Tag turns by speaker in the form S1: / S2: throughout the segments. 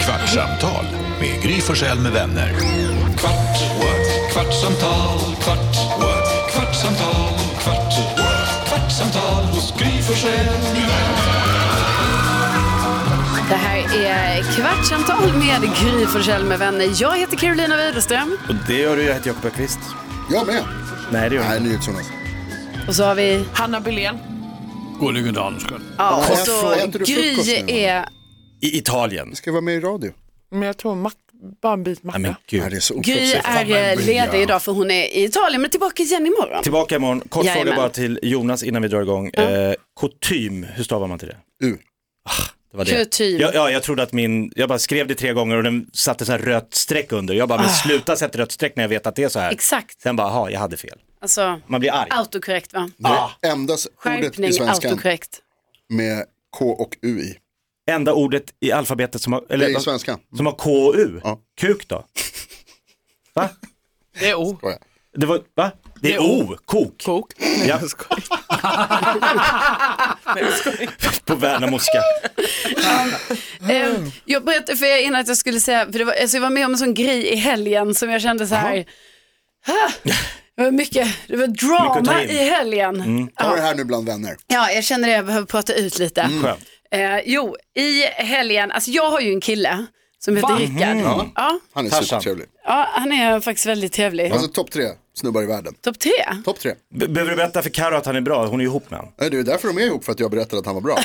S1: Kvartsamtal med Gry Forssell med vänner. Kvart, what? kvartsamtal, kvart, what? kvartsamtal, kvart, what? kvartsamtal hos Gry Forssell med vänner.
S2: Det här är Kvartsamtal med Gry Forssell med vänner. Jag heter Carolina Widerström.
S3: Och det gör du, jag heter Jakob Öqvist.
S4: Jag med.
S3: Nej, det gör jag
S4: Nej,
S3: inte.
S4: NyhetsJonas.
S2: Och så har vi...
S5: Hanna Billén.
S6: Gullige dansken.
S2: Ja, och
S4: jag frågar
S2: så
S4: inte du
S2: Gry
S4: frukost nu, va?
S2: är...
S3: I Italien.
S4: Ska jag vara med i radio?
S5: Men jag tror mack, bara en bit macka.
S3: Nej men
S4: Nej, det
S3: gud.
S4: är så
S2: Gry
S4: ofruktsamt.
S2: är eh, ledig idag för hon är i Italien men tillbaka igen imorgon.
S3: Tillbaka imorgon. Kort
S2: Jajamän.
S3: fråga bara till Jonas innan vi drar igång. Eh, kutym, hur stavar man till det?
S4: U.
S3: det, var det.
S2: Kutym.
S3: Ja, ja, jag trodde att min, jag bara skrev det tre gånger och den satte så här rött streck under. Jag bara, men sluta sätta rött streck när jag vet att det är så här.
S2: Exakt.
S3: Sen bara, aha, jag hade fel.
S2: Alltså,
S3: Man blir arg.
S2: autokorrekt va?
S4: Det är enda s- ordet
S2: Ah. Skärpning,
S4: i svenskan
S2: autokorrekt.
S4: med K och U i.
S3: Enda ordet i alfabetet som har, eller,
S4: Det är svenskan.
S3: som har K och U.
S4: Ja.
S3: Kuk då? Va?
S5: Det är O.
S4: Var jag.
S3: Det var, va? Det är O, kok.
S5: Kok. Nej,
S3: Ja.
S5: jag skojar.
S3: På värnamoska.
S2: Eh, Jag berättade för er innan att jag skulle säga, för det var, alltså jag var med om en sån grej i helgen som jag kände så här, "Ah, det var mycket, det var
S3: Mycket
S2: drama
S3: att ta in.
S2: i helgen. Ah.
S4: Ta det här nu bland vänner.
S2: Ja, jag känner det, jag behöver prata ut lite.
S3: Skönt.
S2: Eh, jo, i helgen, alltså jag har ju en kille som heter Rickard. Ja. Ja,
S4: Han är
S3: Tarzan.
S4: supertrevlig.
S2: han är faktiskt väldigt trevlig.
S4: Alltså topp tre snubbar i världen.
S2: Topp tre.
S4: Topp tre.
S3: Be- Behöver du berätta för Karo att han är bra? Hon är ihop med honom.
S4: Nej, Det är därför de är ihop, för att jag berättade att han var bra.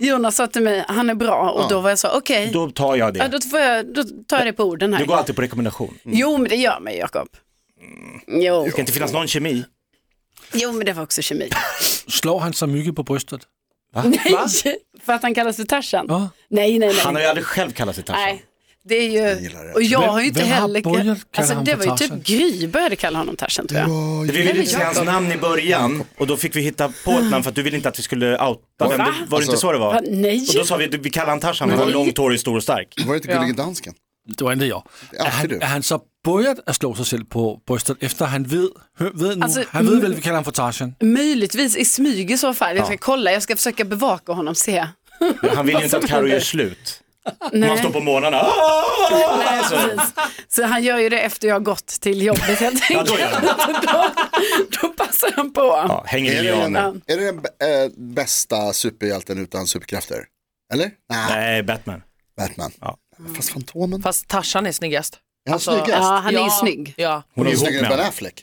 S2: Jonas sa till mig, han är bra och då var jag så, okej,
S3: Då tar jag
S2: ja,
S3: det.
S2: då, får jag, då tar jag det på orden här.
S3: Du går alltid på rekommendation. Det
S2: Jo, men det gör mig Jakob. Jo.
S3: ska inte finnas någon kemi.
S2: jo, men det var också kemi.
S6: Slår han så mycket på bröstet?
S2: Nej, för att han kallas för Tarzan.
S6: Ja.
S2: Nej, nej, nej.
S3: Han har ju aldrig själv kallat sig Tarzan.
S2: Nej, det är ju... Och jag har ju inte
S6: vem har
S2: heller...
S6: börjat kalla
S2: alltså,
S6: honom
S2: det
S6: för
S2: var ju typ
S6: Tarzan?
S2: Gry började kalla honom Tarzan tror jag.
S3: Vi ville
S2: men
S3: inte säga hans
S2: Jakob.
S3: namn i början och då fick vi hitta på ett namn för att du ville inte att vi skulle outa vem det var. det inte
S4: Alltså-
S3: så det
S2: Va,
S3: var?
S2: nej.
S3: Och då sa vi att vi kallar han Tarzan, han var lång, torrig, stor och stark.
S4: Var det inte Gullige Dansken?
S6: Det var inte jag.
S4: Det är
S6: Är
S4: alltid
S6: han,
S4: du.
S6: er han så börjat att slå sig själv på bröstet efter han vet, hör, vet nu,
S2: Alltså,
S6: han vet
S2: mm.
S6: väl vi kallar honom för Tarzan?
S2: Möjligtvis i smyg i så fall. Jag ska kolla, jag ska försöka bevaka honom, se.
S3: Han vill ju inte att Karo gör slut. Han står
S2: Nej.
S3: på "Ah, morgnarna. "Aah!"
S2: Nej, precis. Så han gör ju det efter jag har gått till jobbet helt
S3: Ja, då
S2: enkelt.
S3: gör han.
S2: då, då passar han på.
S3: Ja, hänger i
S4: Är det den,
S3: lianer.
S4: är det den b- eh, bästa superhjälten utan superkrafter? Eller? Nej,
S3: Nej, Batman.
S4: Batman.
S3: Ja.
S4: Fast Fantomen.
S5: Fast Tarzan är snyggast.
S4: Är han
S2: Alltså, Ja,
S4: snyggast?
S2: han är ju snygg.
S5: Ja.
S3: Hon är ihop
S4: Snyggare
S3: med
S4: än Ben
S3: honom.
S4: Affleck.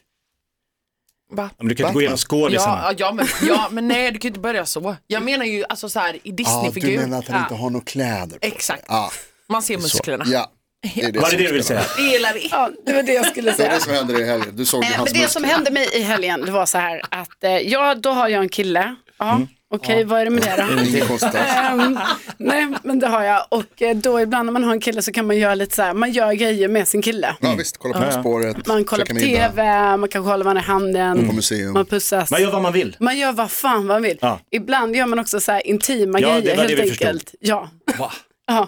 S5: Va?
S3: Men du kan inte gå igenom skådisarna.
S5: Ja, ja, men, ja, men nej du kan ju inte börja så. Jag menar ju alltså så här i
S4: Ah, du
S5: Disney-figur.
S4: menar att han inte har några kläder på sig?
S5: Exakt.
S4: Ah,
S5: Man ser musklerna.
S4: ja. Det är
S3: Var det
S4: som
S3: det du ville
S4: spelar.
S3: säga?
S5: Det gillar vi.
S2: Ja, det var det jag skulle
S4: Det
S2: säga.
S4: var det som hände i helgen. Du såg ju
S2: Eh,
S4: hans
S2: men det som
S4: muskler.
S2: hände mig i helgen det var så här att eh, ja, då har jag en kille. Ja,
S3: Mm.
S2: Okej, vad är det med det då?
S4: Inget konstigt alls.
S2: Ehm, nej, men det har jag. Och eh, då ibland när man har en kille så kan man göra lite så här, man gör grejer med sin kille.
S4: Ja visst, kolla på På spåret,
S2: Man kollar
S4: käka
S2: på
S4: middag,
S2: tv, man kanske håller varandra i handen,
S3: Mm.
S4: på museum.
S2: man pussas.
S3: Man gör vad man vill.
S2: Man gör vad fan man vill.
S3: Ja.
S2: Ibland gör man också så här intima
S3: Ja, det
S2: grejer
S3: var det
S2: helt
S3: vi förstod.
S2: enkelt. Ja. ja,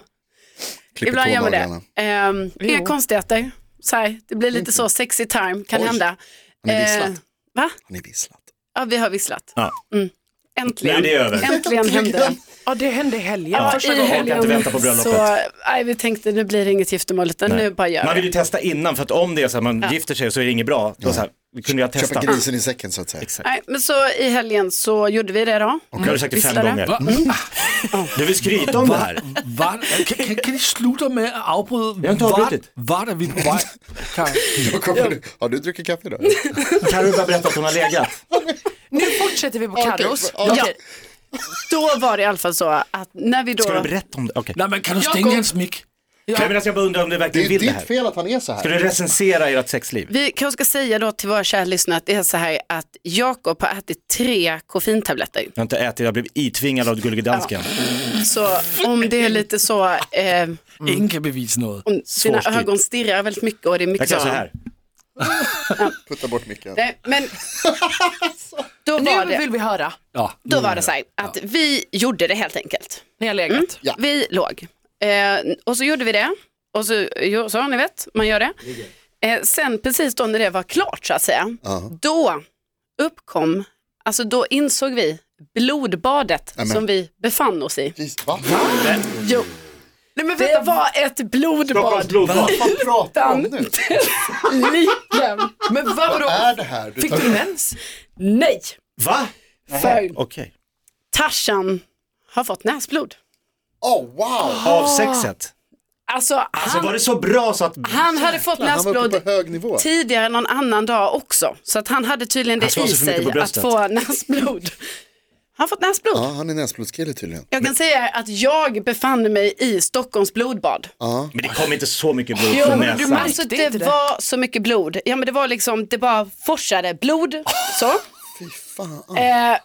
S4: klipper
S2: ibland gör man
S4: tånaglarna.
S2: det. Ehm, inga konstigheter, så här, det blir lite så sexy time, kan
S4: Oj.
S2: hända.
S4: Han är
S2: Eh,
S4: visslat.
S2: va?
S4: Han är visslat.
S2: Ja, vi har visslat.
S3: Ja.
S2: Mm. Äntligen.
S3: Nu är det över.
S2: Äntligen hände det.
S5: Ja, det hände i helgen.
S2: Ja,
S5: Första
S2: i
S5: gången.
S3: helgen. Jag kan inte vänta på bröllopet.
S2: Så, nej, vi tänkte nu blir det inget giftermål utan nu bara gör
S3: Man vill
S2: vi.
S3: ju testa innan för att om det är så att man gifter sig så är det inget bra. Då så här, vi kunde jag testa.
S4: Köpa grisen i säcken så att säga.
S2: Nej, men så i helgen så gjorde vi det då.
S3: Nu har du sagt det fem
S2: Visslade.
S3: gånger.
S2: Mm.
S3: Du vill skryta om det här.
S6: Var, kan, kan, kan ni sluta med att avbryta?
S3: har inte avbrutit.
S6: Var, var är vi på väg? Karo?
S4: Då kommer du, har du druckit kaffe idag?
S3: Carro bara berätta att hon har legat.
S5: Nu fortsätter vi på Carros.
S4: ja.
S5: Okej.
S2: Då var det i alla fall så att när vi då...
S3: Ska du berätta om det? Okej.
S6: Nej men kan du stänga hans mick?
S3: Nej men alltså jag bara undrar om du
S4: Det
S3: verkligen
S4: är ju
S3: vill det
S4: ditt
S3: här.
S4: fel att han är så
S3: Ska
S4: här.
S3: du recensera ert sexliv?
S2: Vi kanske ska säga då till våra kära lyssnare att det är så här att Jakob har ätit tre koffeintabletter.
S3: Jag har inte ätit, jag blev itvingad av Gullige Dansken.
S2: Så om det är lite så, eh,
S6: Ingen kan bevisa något.
S2: om dina
S3: Svårstyrt.
S2: ögon stirrar väldigt mycket och det är
S3: Jag
S2: mycket
S3: kan göra så här.
S4: Putta bort micken.
S2: Nej, men då var
S5: Nu
S2: det,
S5: vill vi höra.
S6: Ja,
S2: då var det så här att vi gjorde det helt enkelt.
S5: Ni har legat.
S4: Mm. Ja.
S2: Vi låg. Eh, och så gjorde vi det. Och så, jo, så ni vet, man gör det. Eh, sen precis då när det var klart så att säga, då uppkom, alltså då insåg vi blodbadet som vi befann oss i.
S4: Precis, Va?
S2: Jo.
S5: Nej men
S2: Det
S5: vänta, vad?
S2: var ett blodbad
S3: blodbad.
S4: Vad fan pratar du om nu?
S2: liken.
S5: Men vad vadå?
S4: Är det här? Du
S5: Fick
S4: tar-
S5: du mens?
S2: Nej,
S3: Va?
S2: för
S3: Okej.
S2: Tarzan har fått näsblod.
S4: Åh, Oh, wow!
S3: Av sexet?
S2: Alltså,
S3: Alltså var
S2: han,
S3: det så bra så att...
S2: han hade fått
S4: Han var uppe
S2: näsblod
S4: på hög nivå.
S2: tidigare någon annan dag också. Så att han hade tydligen
S3: Han
S2: det
S3: slår
S2: i
S3: sig för mycket på
S2: sig att
S3: bröstet.
S2: få näsblod. Han har fått näsblod.
S4: Ja, han är näsblodskille tydligen.
S2: Jag kan säga att jag befann mig i Stockholms blodbad.
S3: Men det kom inte så mycket blod
S2: Jo,
S3: från
S2: men du
S3: näsan.
S2: alltså,
S5: Märkte
S2: det,
S5: inte det?
S2: var så mycket blod. Ja, men det var liksom, det bara forsade blod. Så. Eh,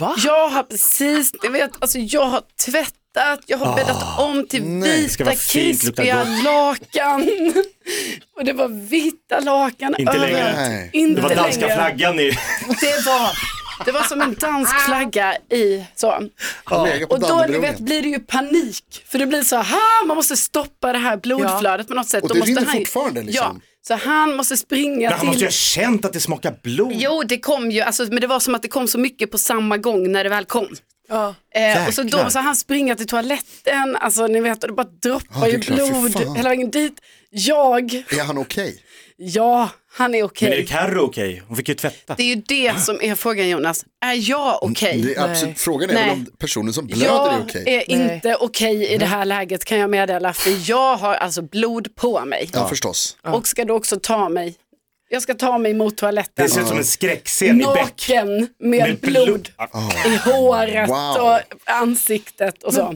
S5: Va?
S2: jag har precis, ni vet, alltså jag har tvättat, jag har bäddat om till
S3: Ah,
S2: vita
S3: ska vara fint, lukta
S2: krispiga
S3: gott.
S2: lakan. Och det var vita lakan
S3: Inte längre.
S2: överallt.
S4: Nej.
S2: Inte
S3: Det var danska
S2: längre.
S3: flaggan i...
S2: Det var, det var som en dansk flagga i så.
S4: Han lägger på
S2: Och då ni vet,
S4: Dannebroungen.
S2: blir det ju panik. För det blir så här, man måste stoppa det här blodflödet på något sätt.
S4: Och
S2: Då
S4: det
S2: måste
S4: rinner
S2: han,
S4: fortfarande,
S2: Ja,
S4: liksom.
S2: så han måste springa
S3: Men han
S2: till...
S3: måste ju ha känt att det smakar blod.
S2: Jo, det kom ju, alltså, men det var som att det kom så mycket på samma gång när det väl kom.
S5: Ja.
S2: Eh, och så då
S3: Jäklar.
S2: måste han springa till toaletten, alltså ni vet, och det bara droppar
S4: Ja, det är
S2: ju
S4: klart, för
S2: blod
S4: fan.
S2: hela vägen dit. Jag,
S4: Är han okej?
S2: ja, han är okej.
S3: Men är Carro okej? Hon fick ju tvätta.
S2: Det är ju det som är frågan Jonas, är jag okej?
S4: Mm, Det är absolut, frågan är väl
S2: Nej.
S4: om personen som blöder är
S2: Jag
S4: okej.
S2: är
S5: Nej.
S2: inte okej i det här läget kan jag meddela för jag har alltså blod på mig
S4: Ja, förstås.
S2: och ska då också ta mig, jag ska ta mig mot toaletten.
S3: Det ser ut som en skräckscen i Beck.
S2: Naken med,
S3: Med
S2: blod,
S3: blod.
S2: i håret
S4: Wow.
S2: och ansiktet och så.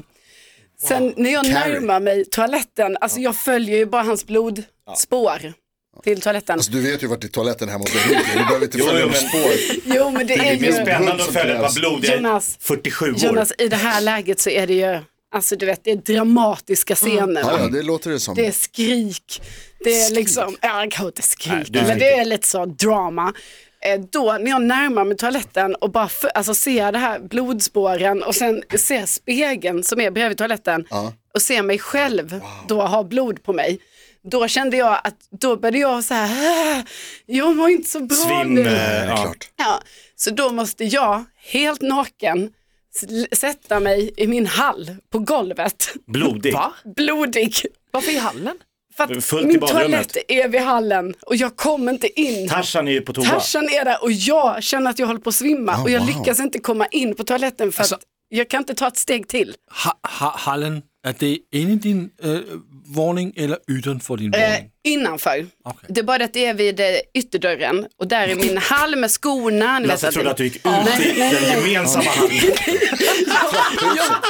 S2: Sen när jag
S4: Carrie.
S2: närmar mig toaletten, alltså jag följer ju bara hans blodspår till toaletten.
S4: Alltså, du vet ju vart i toaletten hemma hos dig ligger. Du behöver inte
S3: Jo,
S4: följa
S3: jo,
S4: med
S3: men-
S4: spår.
S2: Jo men det är
S3: Det är
S2: ju,
S3: spännande att följa ett par blod. Jag är
S2: Jonas.
S3: 47 år.
S2: Jonas i det här läget så är det ju, alltså du vet det är dramatiska scener.
S4: Ja,
S2: va?
S4: ja, det låter det som.
S2: Det är skrik, det är liksom, ja jag kan inte
S3: Nej,
S2: skrika
S3: du
S2: men det
S3: skriker.
S2: är lite så drama. Eh, Då när jag närmar mig toaletten och bara för, alltså, ser det här blodspåren och sen ser spegeln som är bredvid toaletten och ser mig själv då ha blod på mig. Då kände jag att då började jag så här, "Ah, jag mår inte så bra
S3: Svim...
S2: nu.
S3: eh,
S4: Ja, det är
S3: ja.
S4: klart.
S2: Ja, så då måste jag helt naken s- sätta mig i min hall på golvet,
S3: Blodig.
S5: Va?
S2: blodig.
S5: Varför i hallen?
S2: För att
S3: Fullt i
S2: min
S3: badrummet.
S2: toalett är vid hallen och jag kommer inte in.
S3: Tarzan är ju på toa.
S2: Tarzan är där och jag känner att jag håller på att svimma
S4: Oh,
S2: och jag
S4: wow.
S2: lyckas inte komma in på toaletten för att jag kan inte ta ett steg till.
S6: Ha, ha, Hallen, er det inde i din øh, våning eller ytteren for din
S2: Eh,
S6: våning?
S2: innanför.
S6: Okej.
S2: Det är bara det att det är vid eh, ytterdörren och där är min hall med skorna. ni
S3: Lasse
S2: vet
S3: trodde att du gick ut i den gemensamma hallen.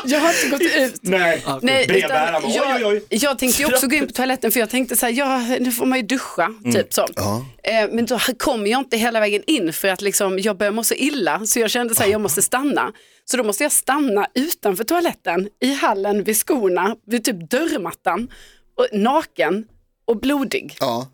S2: Jag har inte gått ut.
S3: Nej,
S2: Nej,
S3: brevbäraren.
S2: utan
S3: Oj, oj,
S2: jag,
S3: oj.
S2: jag tänkte ju också gå in på toaletten för jag tänkte så här, ja, nu får man ju duscha,
S3: Mm.
S2: typ så. Eh, men då kommer jag inte hela vägen in för att liksom, jag börjar må så illa så jag kände så här, jag måste stanna. Så då måste jag stanna utanför toaletten, i hallen, vid skorna, vid typ dörrmattan, och naken och blodig.
S4: Ja.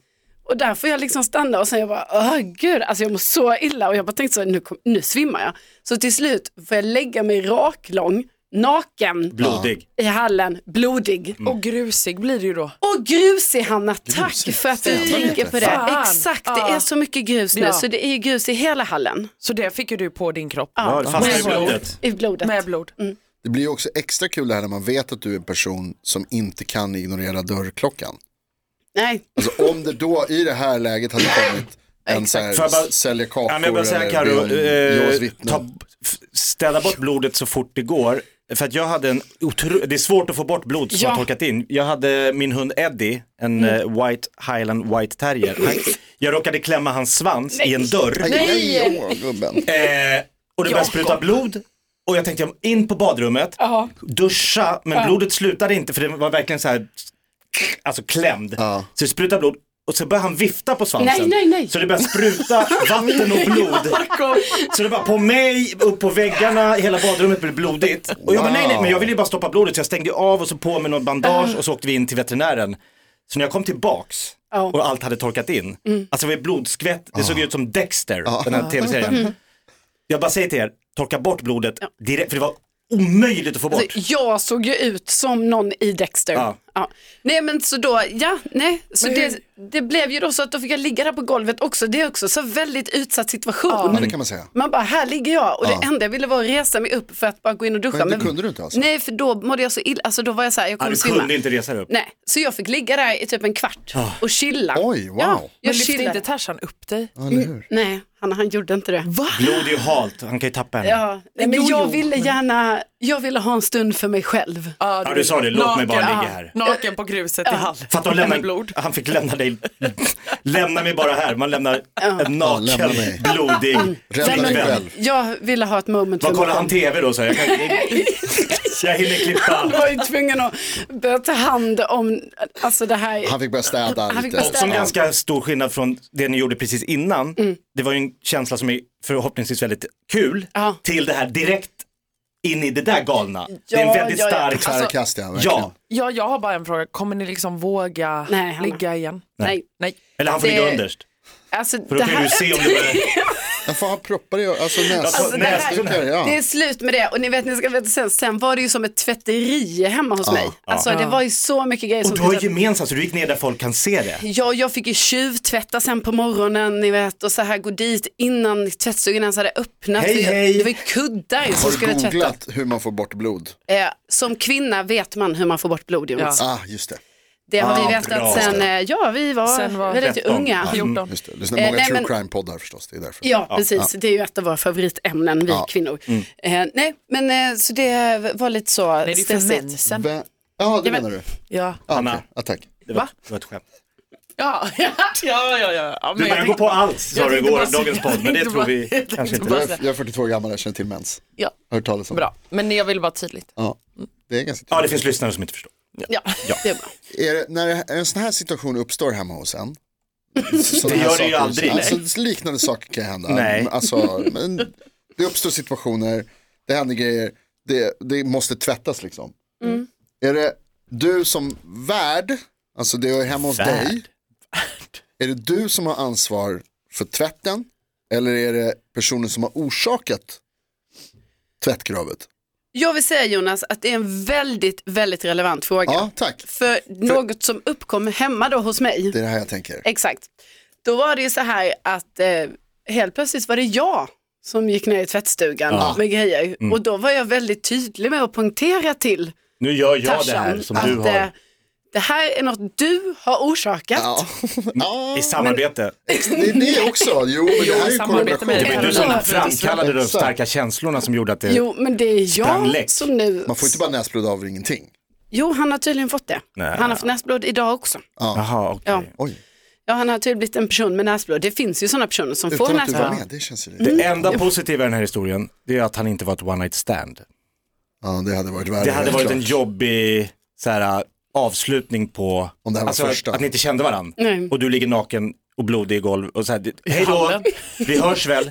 S2: Och där får jag liksom stanna och sen jag bara, åh gud, alltså jag mår så illa och jag bara tänkte så här, nu, kom, nu svimmar jag. Så till slut får jag lägga mig raklång, naken
S3: Blodig.
S2: i hallen, blodig.
S3: Mm.
S4: Mm.
S5: Och grusig blir det ju då.
S2: Och grus i Hanna, tack för att du
S4: Fan,
S2: tänker
S4: inte.
S2: på det.
S5: Fan.
S2: Exakt, det
S5: Ja.
S2: är så mycket grus nu
S5: Ja.
S2: så det är ju grus i hela hallen.
S5: Så det fick ju du på din kropp.
S3: Ja, det fastnar i
S5: Med blod.
S3: blodet.
S2: I blodet.
S5: Med blod.
S4: Det blir ju också extra kul det här när man vet att du är en person som inte kan ignorera dörrklockan.
S2: Nej,
S4: Alltså om det då i det här läget hade kommit en så här
S3: Får jag bara-
S4: sälja kakor
S3: Ja, men jag bara säga
S4: eller
S3: Carro,
S4: Björn- Jehovas
S3: eh,
S4: vittnen.
S3: ta- f- städa bort blodet så fort det går. För att jag hade en otro... det är svårt att få bort blod som
S2: Ja.
S3: har torkat in. Jag hade min hund Eddie, en eh, white highland white terrier. Han... Jag råkade klämma hans svans i en dörr.
S4: Aj, aj, aj, åh, gubben.
S3: Eh, och det började spruta blod. Och jag tänkte in på badrummet, duscha, men blodet slutade inte för det var verkligen så här, alltså klämd.
S4: Ja.
S3: Så det sprutade blod och så började han vifta på svansen.
S2: Nej, nej, nej.
S3: Så det började spruta vatten och blod. så det var på mig, upp på väggarna, hela badrummet blev blodigt. Och jag bara nej, nej, men jag ville ju bara stoppa blodet så jag stängde av och så på med något bandage och så åkte vi in till veterinären. Så när jag kom tillbaks
S2: Ja. Mm.
S3: och allt hade torkat in, alltså det var ju blodskvätt, det
S4: Ah.
S3: såg ut som
S2: Mm.
S3: Dexter, den här tv-serien. Jag bara säger till er, torka bort blodet direkt, för det var omöjligt att få bort.
S2: Alltså, jag såg ju ut som någon i Dexter.
S3: Ja.
S2: Ja. Nej men så då, ja, nej. Så
S5: Men
S2: det,
S5: hur-
S2: det blev ju då så att då fick jag ligga där på golvet också. Det är också så väldigt utsatt situation.
S4: Ja,
S5: Mm.
S4: det kan man säga.
S2: Man bara, här ligger jag och
S4: Ja.
S2: det enda jag ville var att resa mig upp för att bara gå in och duscha.
S4: Men det kunde du inte alltså?
S2: Nej, för då mådde jag så illa, alltså då var jag så här, jag
S3: Ja,
S2: kommer
S3: du
S2: svimma.
S3: kunde inte resa dig upp. Ah.
S2: Nej, så jag fick ligga där i typ en kvart och chilla.
S4: Oj, wow.
S2: Ja,
S5: Men
S2: jag
S5: lyfte
S2: chillade.
S5: inte Tarzan upp dig?
S4: Ja, eller hur?
S2: Nej, han, han gjorde inte det. Va?
S3: Blod är ju halt, han kan ju tappa henne.
S2: Ja, nej, men
S5: Jo,
S2: jag
S5: jo,
S2: ville gärna, jag ville ha en stund för mig själv.
S3: Ja, du sa det. Låt mig bara ligga här.
S5: Naken på gruset i hall.
S3: För att de
S5: Med blod.
S3: lämnar, han fick lämna dig, lämna mig bara här, man lämnar en
S4: Ja,
S3: naken,
S4: lämna mig.
S3: blodig
S2: Mm.
S4: Rädda dig
S3: kväll.
S4: själv.
S2: Jag ville ha ett moment för
S3: Vad
S2: mig
S3: kollar
S2: själv.
S3: han tv då så jag, kan, jag hinner
S2: Han
S3: klippa.
S2: var ju tvungen att börja ta hand om, alltså det här.
S4: Han fick börja städa
S2: Han fick
S4: lite.
S2: börja städa.
S3: Som
S4: Ja.
S3: ganska stor skillnad från det ni gjorde precis innan,
S2: Mm.
S3: det var ju en känsla som är förhoppningsvis väldigt kul,
S2: Ja.
S3: till det här direkt in i det där galna. det är en
S2: Ja,
S3: väldigt
S2: ja, ja.
S3: stark,
S2: alltså-
S4: Tvärkast Alltså, ja, verkligen.
S3: ja,
S5: Ja, jag har bara en fråga. Kommer ni liksom våga
S2: Nej, Hanna.
S5: ligga igen?
S2: Nej,
S5: Nej.
S3: eller han får ligga
S2: Det-
S3: underst.
S2: alltså
S3: För då
S2: det
S3: kan ju
S2: här.
S3: du se om det börjar,
S4: Men fan han proppar i alltså näs,
S3: Alltså,
S4: alltså,
S3: det här-
S4: näsdukar.
S2: Det
S4: Ja.
S2: är slut med det och ni vet, ni ska veta sen, sen var det ju som ett tvätteri hemma hos mig. Alltså det var ju så mycket grejer
S3: och du
S2: som
S3: har ju gemensamt så du gick ner där folk kan se det.
S2: Ja, jag fick ju tjuvtvätta sen på morgonen, ni vet, och så här gå dit innan tvättstugan ens hade öppnat.
S3: Hej,
S2: Det-
S3: hej.
S2: Det var ju kuddar som
S4: Har
S2: skulle
S4: du
S2: tvättas.
S4: googlat hur man får bort blod?
S2: Eh, som kvinna vet man hur man får bort blod, Jonas.
S4: Ah, just det.
S2: Det har
S3: Ah,
S2: vi
S3: bra.
S2: vetat sen, eh, ja, vi var,
S5: Sen var-
S2: väldigt
S3: 13.
S2: unga.
S3: Ja.
S2: Ja.
S5: 14.
S4: Just det. Lyssnar många
S2: Eh, nej,
S4: true
S2: men-
S4: crime-poddar förstås, det är därför.
S2: precis. Det är ju ett av våra favoritämnen, vi
S4: Ja.
S2: kvinnor.
S3: Mm.
S2: Eh, nej, men eh, så det var lite så
S5: Nej, det är ju för
S2: stressigt.
S5: mensen.
S4: Vä- Ja, det
S2: Ja, men-
S4: menar du?
S5: Ja.
S4: Ah,
S3: Anna.
S4: okay. ja, tack.
S3: Det var, det var ett skämt.
S5: Ja, ja, ja. ja, ja. ja men
S3: Du börjar
S5: jag
S3: gå
S5: tänkte-
S3: på allt sa
S5: jag
S3: du
S5: tänkte
S3: igår,
S5: bara säga-
S3: dagens podd, men det
S5: jag
S3: tror
S5: tänkte
S3: vi
S5: bara-
S3: kanske
S5: jag
S3: inte.
S5: tänkte
S4: Jag
S5: bara
S4: är,
S5: säga-
S4: jag är 42 år gammal, jag känner till mens.
S5: Ja,
S4: Har hört talas om.
S5: bra. Men jag vill vara tydligt.
S4: Ja, det är ganska
S3: Ja,
S4: tydligt.
S3: det finns lyssnare som inte förstår.
S2: Ja, det är bra.
S4: Är det, när det- en sån här situation uppstår hemma hos en, så
S3: Det
S4: här
S3: gör det
S4: saker-
S3: ju aldrig.
S4: Alltså, liknande saker kan hända.
S3: Nej.
S4: Alltså, men det uppstår situationer, det händer grejer, det, det måste tvättas liksom. Är det du som värd, alltså det är hemma hos
S3: Värd?
S4: dig, är det du som har ansvar för tvätten eller är det personen som har orsakat tvättkravet?
S2: Jag vill säga Jonas att det är en väldigt, väldigt relevant fråga.
S4: Ja, tack.
S2: För något som uppkom hemma då hos mig.
S4: Det är det här jag tänker.
S2: Exakt. Då var det ju så här att eh, helt plötsligt var det jag som gick ner i tvättstugan med grejer.
S3: Mm.
S2: Och då var jag väldigt tydlig med att poängtera till
S3: Nu gör jag det här
S2: Tarzan
S3: som
S2: att
S3: du
S2: eh,
S3: har
S2: det här är något du har orsakat.
S4: Ja. ja,
S2: eh,
S3: i samarbete.
S4: det är det också. Jo, men det här är ju
S5: samarbete med-
S4: korrelation.
S3: Det var du som
S2: Ja,
S3: framkallade de
S4: exakt.
S3: starka känslorna som gjorde att det...
S2: Jo, men det är
S3: Sprang
S2: jag
S3: läck.
S2: som nu...
S4: Man får inte bara näsblod av ingenting.
S2: Jo, han har tydligen fått det.
S3: Nej.
S2: Han har fått näsblod idag också.
S3: Jaha, okej.
S2: Ja.
S4: Oj,
S2: Ja, han har tydligen blivit en person med näsblod. Det finns ju sådana personer som får
S4: utan att du var
S2: näsblod.
S4: med, det känns ju lite.
S2: Mm.
S3: Det enda positiva i den här historien, det är att han inte var ett one night stand.
S4: Ja, det hade varit värre.
S3: Det hade
S4: helt
S3: varit
S4: klart.
S3: en jobbig så här, avslutning på...
S4: Om det här var
S3: alltså,
S4: första.
S3: Att ni inte kände varandra.
S2: Nej.
S3: Och du ligger naken och blodig i golv och så här, det- hej då,
S5: hallen.
S3: vi hörs väl.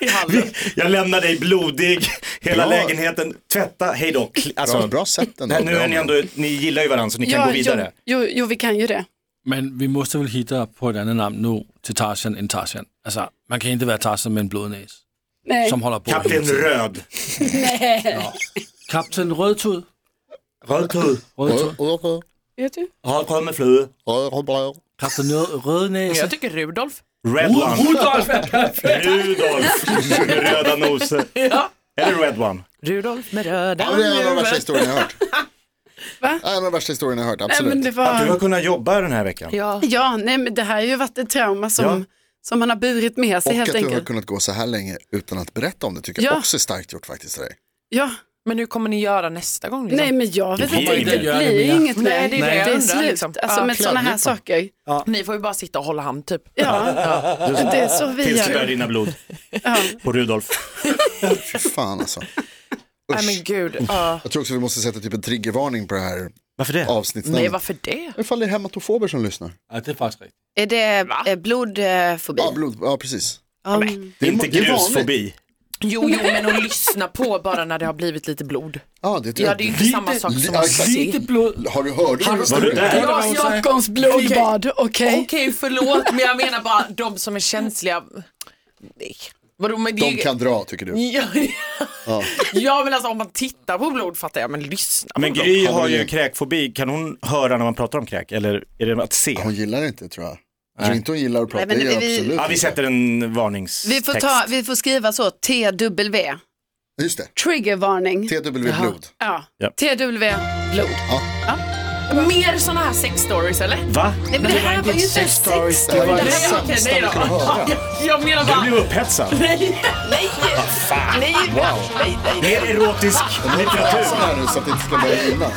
S5: I hallen.
S3: Jag lämnar dig blodig, hela
S4: Bra.
S3: lägenheten, tvätta, hej då. Kli- Alltså,
S4: Bra, bra sätt ändå.
S3: Nej, nu är ni
S4: Bra.
S3: ändå, ni gillar ju varandra så ni kan
S2: Ja,
S3: gå vidare.
S2: Jo, jo, jo, vi kan ju det.
S6: Men vi måste väl hitta på ett annat namn nu till Tarzan än Tarzan. Alltså, man kan inte vara Tarzan med en blodnäs
S2: Nej.
S6: som håller på
S3: Kapten Röd.
S6: Kapten Rödtud.
S3: Rödtud.
S6: Rödtud.
S2: Vet du?
S3: Har kommit flue.
S6: Kapten Rö- Rödnäs.
S5: Jag tycker Rudolf.
S3: Red one.
S6: Rudolf är perfekt.
S3: Rudolf med röda noser.
S5: Ja.
S3: Eller red one.
S5: Rudolf med röda
S4: Ja, men det är en av de värsta
S5: ögon.
S4: historierna jag har hört.
S2: Va?
S4: Det är En av de värsta historierna jag har hört,
S2: Nej, men
S4: absolut.
S2: det
S3: Att du
S2: var...
S3: har kunnat jobba den här veckan.
S5: Ja.
S2: Ja, nej, men det här har ju varit ett trauma som,
S3: Ja.
S2: som han har burit med sig
S4: Och att
S2: helt
S4: du har
S2: enkelt.
S4: kunnat gå så här länge utan att berätta om det tycker jag
S2: Ja.
S4: också är starkt gjort faktiskt. av dig.
S2: Ja,
S5: Men hur kommer ni göra nästa gång? Liksom?
S2: nej men jag vet
S3: blir
S2: inte,
S3: inget
S2: det
S6: mer.
S2: blir ju inget mer.
S5: Nej, det är det jag
S2: är
S5: undrar,
S2: slut,
S5: liksom.
S2: alltså
S5: Ja,
S2: med sådana här
S4: klädnypa.
S2: saker.
S5: Ni får ju bara sitta och hålla hand typ.
S2: Ja, det är så vi
S3: Tills det börjar
S2: gör.
S3: rinna blod
S2: Ja.
S3: på Rudolf.
S4: Fy fan alltså.
S5: Nej men gud. ja.
S4: Jag tror också vi måste sätta typ en triggervarning på det här
S3: Varför det?
S5: Nej
S4: avsnittsnamnet.
S5: varför det?
S4: Ifall det är hematofober som lyssnar.
S6: Ja, det är faktiskt riktigt.
S2: Är det eh, blodfobi?
S4: Ja, blod, ja precis.
S2: Ja.
S3: Det är inte
S4: det är vanligt.
S3: grusfobi.
S5: Jo, jo men att lyssna på bara när det har blivit lite blod.
S4: Ja, det tror
S5: Ja
S4: jag.
S5: det är ju inte
S6: Lite-
S5: samma sak som
S4: ja,
S5: att
S4: exakt.
S5: se.
S6: Lite blod.
S4: Har du hört den
S3: Var du
S4: historien?
S3: där?
S5: Ja,
S2: Ja, Stockholms blodbad, okej.
S5: Okej förlåt men jag menar bara de som är känsliga. Nej. Vadå, men det...
S4: De kan dra tycker du.
S5: Ja, ja men alltså om man tittar på blod fattar jag, men lyssna.
S3: Men Gry
S4: Har
S3: har
S4: väl
S3: ju
S4: ingen-
S3: kräkfobi, kan hon höra när man pratar om kräk? Eller är det att se?
S4: Hon gillar det inte tror jag. Jag tror inte hon gillar att prata,
S2: Nej, men
S4: det gör
S2: vi-
S4: jag absolut
S3: Ja, vi
S4: inte.
S3: sätter en varningstext.
S2: Vi får, ta, vi får skriva så, TW,
S4: Just det,
S2: triggervarning.
S4: TW blod.
S2: Ja,
S3: Ja.
S2: TW, blod.
S5: Mer sådana här sex stories eller?
S3: Va?
S2: Nej, men det här var ju inte en
S5: story.
S2: sex.
S4: Det här var
S5: Nej,
S4: det
S5: okej,
S4: sämsta
S5: nej
S4: vi
S5: då.
S4: kunde höra.
S5: Jag menar
S3: Du
S5: bara,
S3: blev upphetsad.
S5: nej, nej, nej, nej, nej.
S3: Mer erotisk litteratur.
S4: Läsa här nu så att det inte ska börja rinna.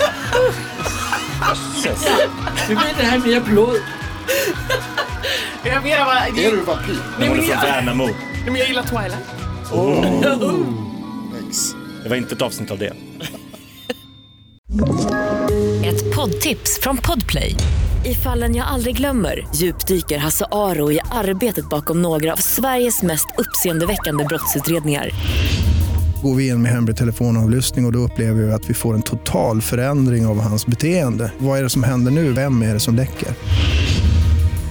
S6: Vi vill inte ha mer blod.
S5: Jag menar bara,
S4: Är du vampyr?
S3: Nu var du från Värnamo.
S5: Nej, men jag gillar Twilight.
S4: Thanks.
S3: Det var inte ett avsnitt av det.
S7: Ett poddtips från Podplay. I fallen jag aldrig glömmer djupdyker Hasse Aro i arbetet bakom några av Sveriges mest uppseendeväckande brottsutredningar.
S8: Går vi in med hemlig telefonavlyssning och, och då upplever vi att vi får en total förändring av hans beteende. Vad är det som händer nu? Vem är det som läcker?